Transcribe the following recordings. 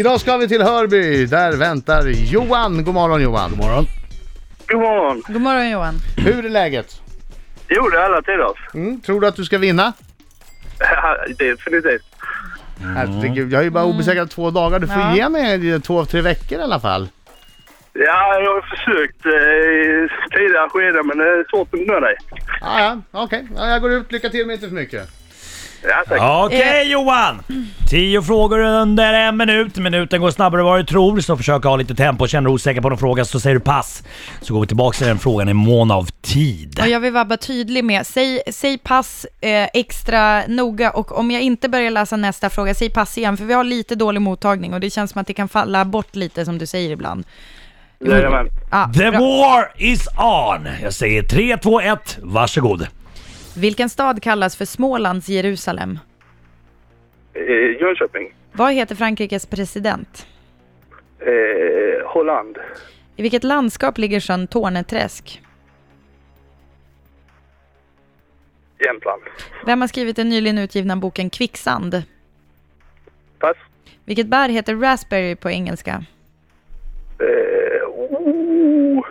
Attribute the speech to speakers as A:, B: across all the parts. A: Idag ska vi till Hörby, där väntar Johan. God morgon Johan.
B: morgon.
C: God morgon.
D: God morgon Johan.
A: Hur är läget?
C: Jo, det är alla tiders.
A: Mm, tror du att du ska vinna?
C: Definitivt.
A: Herregud, jag är ju bara obesegrad två dagar. Du får
D: Ja.
A: ge mig en- två, tre veckor i alla fall.
C: Ja, jag har försökt eh, i tidigare skeden, men det är svårt att nå dig.
A: Ah, ja, okej. Ja, jag går ut. Lycka till men inte för mycket.
C: Ja, tack.
B: Okej
D: Eh.
B: Johan! Tio frågor under en minut. Minuten går snabbare än vad du tror, så försök ha lite tempo. Känner du osäker på någon fråga så säger du pass. Så går vi tillbaka till den frågan i mån av tid.
D: Och jag vill vara bara tydlig med, säg, säg pass eh, extra noga och om jag inte börjar läsa nästa fråga, säg pass igen för vi har lite dålig mottagning och det känns som att det kan falla bort lite som du säger ibland.
C: Jajamän.
D: Ah,
B: The
D: bra.
B: war is on! Jag säger 3, 2, 1, varsågod.
D: Vilken stad kallas för Smålands Jerusalem?
C: Eh, Jönköping.
D: Vad heter Frankrikes president?
C: Eh, Holland.
D: I vilket landskap ligger sjön Torneträsk?
C: Jämtland.
D: Vem har skrivit den nyligen utgivna boken Kvicksand?
C: Pass.
D: Vilket bär heter raspberry på engelska?
C: Eh, oh.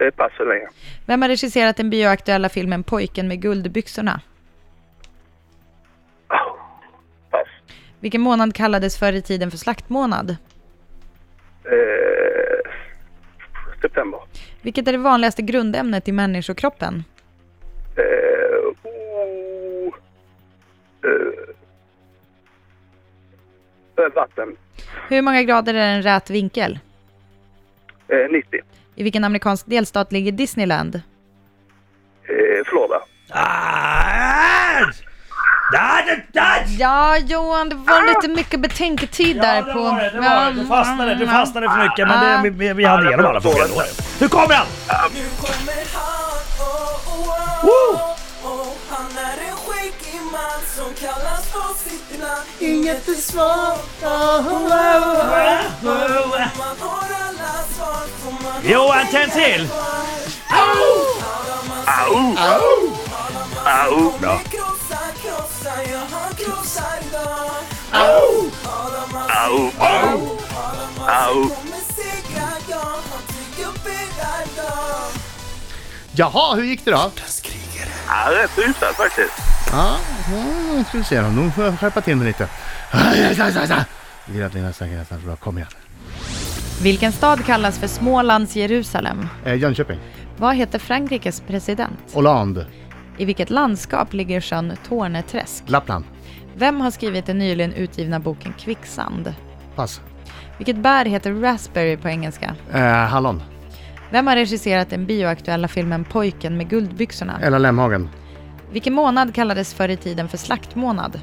C: eh, pass så länge.
D: Vem har regisserat den bioaktuella filmen Pojken med guldbyxorna?
C: Oh. Pass.
D: Vilken månad kallades förr i tiden för slaktmånad?
C: Eh, september.
D: Vilket är det vanligaste grundämnet i människokroppen?
C: Eh, oh. eh, eh, vatten.
D: Hur många grader är en rät vinkel?
C: Eh, 90.
D: I vilken amerikansk delstat ligger Disneyland?
C: Eh, Florida.
B: Ah! Ah, det- ah!
D: Ja, Johan, det var lite mycket betänketid där
B: Ja, det
D: på...
B: var det, det var det. Du fastnade, du fastnade för mycket men
D: Ah.
B: det, vi, vi, vi hade igenom alla frågor. Det var det. Nu kommer han!
E: Nu kommer han, oh, oh,
B: Woo!
E: oh, oh. Han är en skäggig man som kallas på sitt namn Inget försvar, oh, oh, oh, oh. Man har alla svar får man
B: Johan, tänd till!
E: Au! Bra. Krossa, krossa, ja han krossar idag Au! Au! Au! Kommer segra, ja han tycker bäddar idag
A: Jaha, hur gick det då?
C: Ja, rätt hyfsat faktiskt.
A: Ja, ja, jag skulle se dem. Nu får jag skärpa till mig lite. Grät dina säkert nästan bra. Kom igen.
D: Vilken stad kallas för Smålands Jerusalem?
A: Eh, Jönköping.
D: Vad heter Frankrikes president?
A: Åland.
D: I vilket landskap ligger sjön Torneträsk?
A: Lappland.
D: Vem har skrivit den nyligen utgivna boken Kvicksand?
A: Pass.
D: Vilket bär heter raspberry på engelska?
A: Eh, hallon.
D: Vem har regisserat den bioaktuella filmen Pojken med guldbyxorna?
A: Ella Lemhagen.
D: Vilken månad kallades förr i tiden för slaktmånad?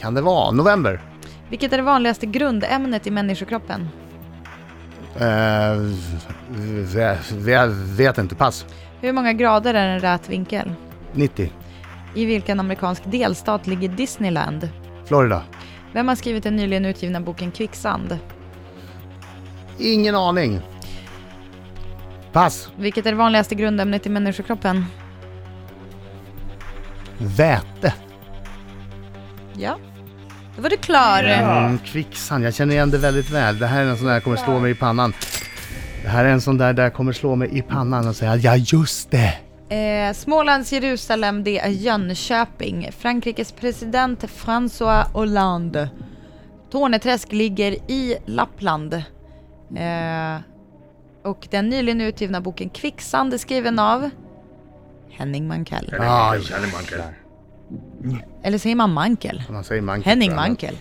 A: Kan det vara? November?
D: Vilket är det vanligaste grundämnet i människokroppen?
A: Eh, v- v- vet inte. Pass.
D: Hur många grader är en rät vinkel?
A: 90.
D: I vilken amerikansk delstat ligger Disneyland?
A: Florida.
D: Vem har skrivit den nyligen utgivna boken Kvicksand?
A: Ingen aning. Pass.
D: Vilket är det vanligaste grundämnet i människokroppen?
A: Väte.
D: Ja, då var du klar.
A: Mm, kvicksand. Jag känner igen det väldigt väl. Det här är en sån där jag kommer slå mig i pannan. Det här är en sån där där jag kommer slå mig i pannan och säga ja just det.
D: Eh, Smålands Jerusalem, det är Jönköping. Frankrikes president François Hollande. Torneträsk ligger i Lappland. Eh, och den nyligen utgivna boken Kvicksand är skriven av Henning Mankell.
A: Ja,
D: Eller säger man Mankel?
A: man säger mankel.
D: Henning
A: tror jag.
D: Mankell.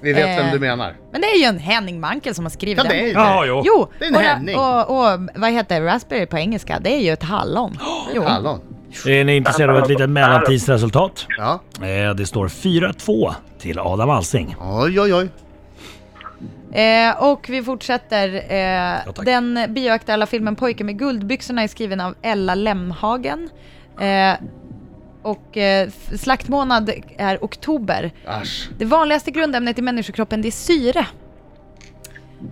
A: Vi vet vem
D: Eh.
A: du menar.
D: Men det är ju en Henning Mankell som har skrivit
A: Ja, det är
D: den.
A: ju
B: Ja,
A: det.
B: jo.
D: Jo,
A: Det är en
D: och,
A: Henning.
D: Och, och vad heter raspberry på engelska? Det är ju ett hallon. Jo.
A: Hallon.
B: Är ni intresserade av ett litet mellantidsresultat?
A: Ja.
B: Eh, Det står 4-2 till Adam Alsing.
A: Oj, oj, oj.
D: Eh, och vi fortsätter. Eh,
B: Ja, tack.
D: den bioaktuella filmen Pojken med guldbyxorna är skriven av Ella Lemhagen. Eh, och eh, f- slaktmånad är oktober.
A: Asch.
D: Det vanligaste grundämnet i människokroppen det är syre.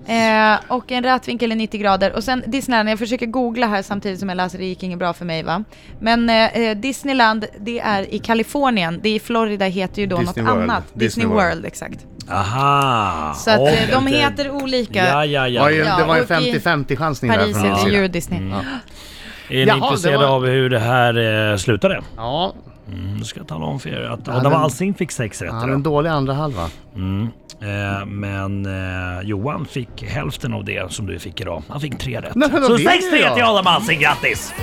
D: Eh, och en rätvinkel är 90 grader. Och sen Disneyland, jag försöker googla här samtidigt som jag läser, det gick inget bra för mig va. Men eh, eh, Disneyland, det är i Kalifornien. Det i Florida heter ju då
A: Disney
D: något
A: World.
D: annat.
A: Disney
D: Disney World,
A: World.
D: exakt.
B: Aha!
D: Så att,
B: Oj,
D: eh, de
B: lite-
D: heter olika.
B: Ja, ja,
A: Det var
B: ja.
A: ju, det var ju en
D: och i
A: 50-50 chansning där
D: Paris
A: från min
D: heter
A: sida.
D: ju Disney.
B: Är ni
A: Jaha, det
B: intresserade
A: var-
B: av hur det här eh, slutade?
A: Ja,
B: Nu ska jag tala om för er att
A: Ja,
B: Adam
A: men-
B: Alsing fick sex rätt
A: han är
B: idag.
A: en dålig andra halva.
B: Mm. Eh, men eh, Johan fick hälften av det som du fick idag. Han fick tre rätt.
A: Nej, men då
B: Så 6-3
A: vinner jag.
B: till Adam Alsing, grattis!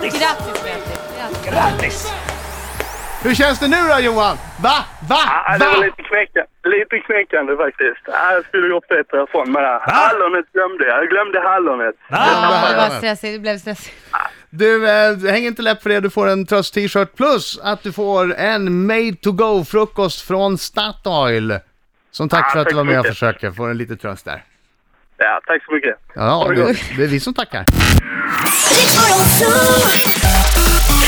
B: Grattis!
D: Grattis Peter!
B: Grattis!
A: Hur känns det nu då Johan? Va? Va?
C: Ja, det var
A: Va?
C: lite knäckande, lite knäckande faktiskt. Ja, jag skulle gått bättre ifrån men ja, hallonet glömde jag. Jag glömde hallonet.
D: Ja, det
A: Vad
D: var
A: härligt.
D: stressigt, det blev stressigt.
A: Du, eh, häng inte läpp för det. Du får en tröst-t-shirt plus att du får en made to go-frukost från Statoil. Som tack
C: Ja,
A: för att
C: tack
A: du var
C: så
A: med och
C: mycket.
A: försökte. Får en liten tröst där.
C: Ja, tack så mycket.
A: Ja,
C: det
A: det,
C: gott.
A: det är vi som tackar.
F: Riks 102.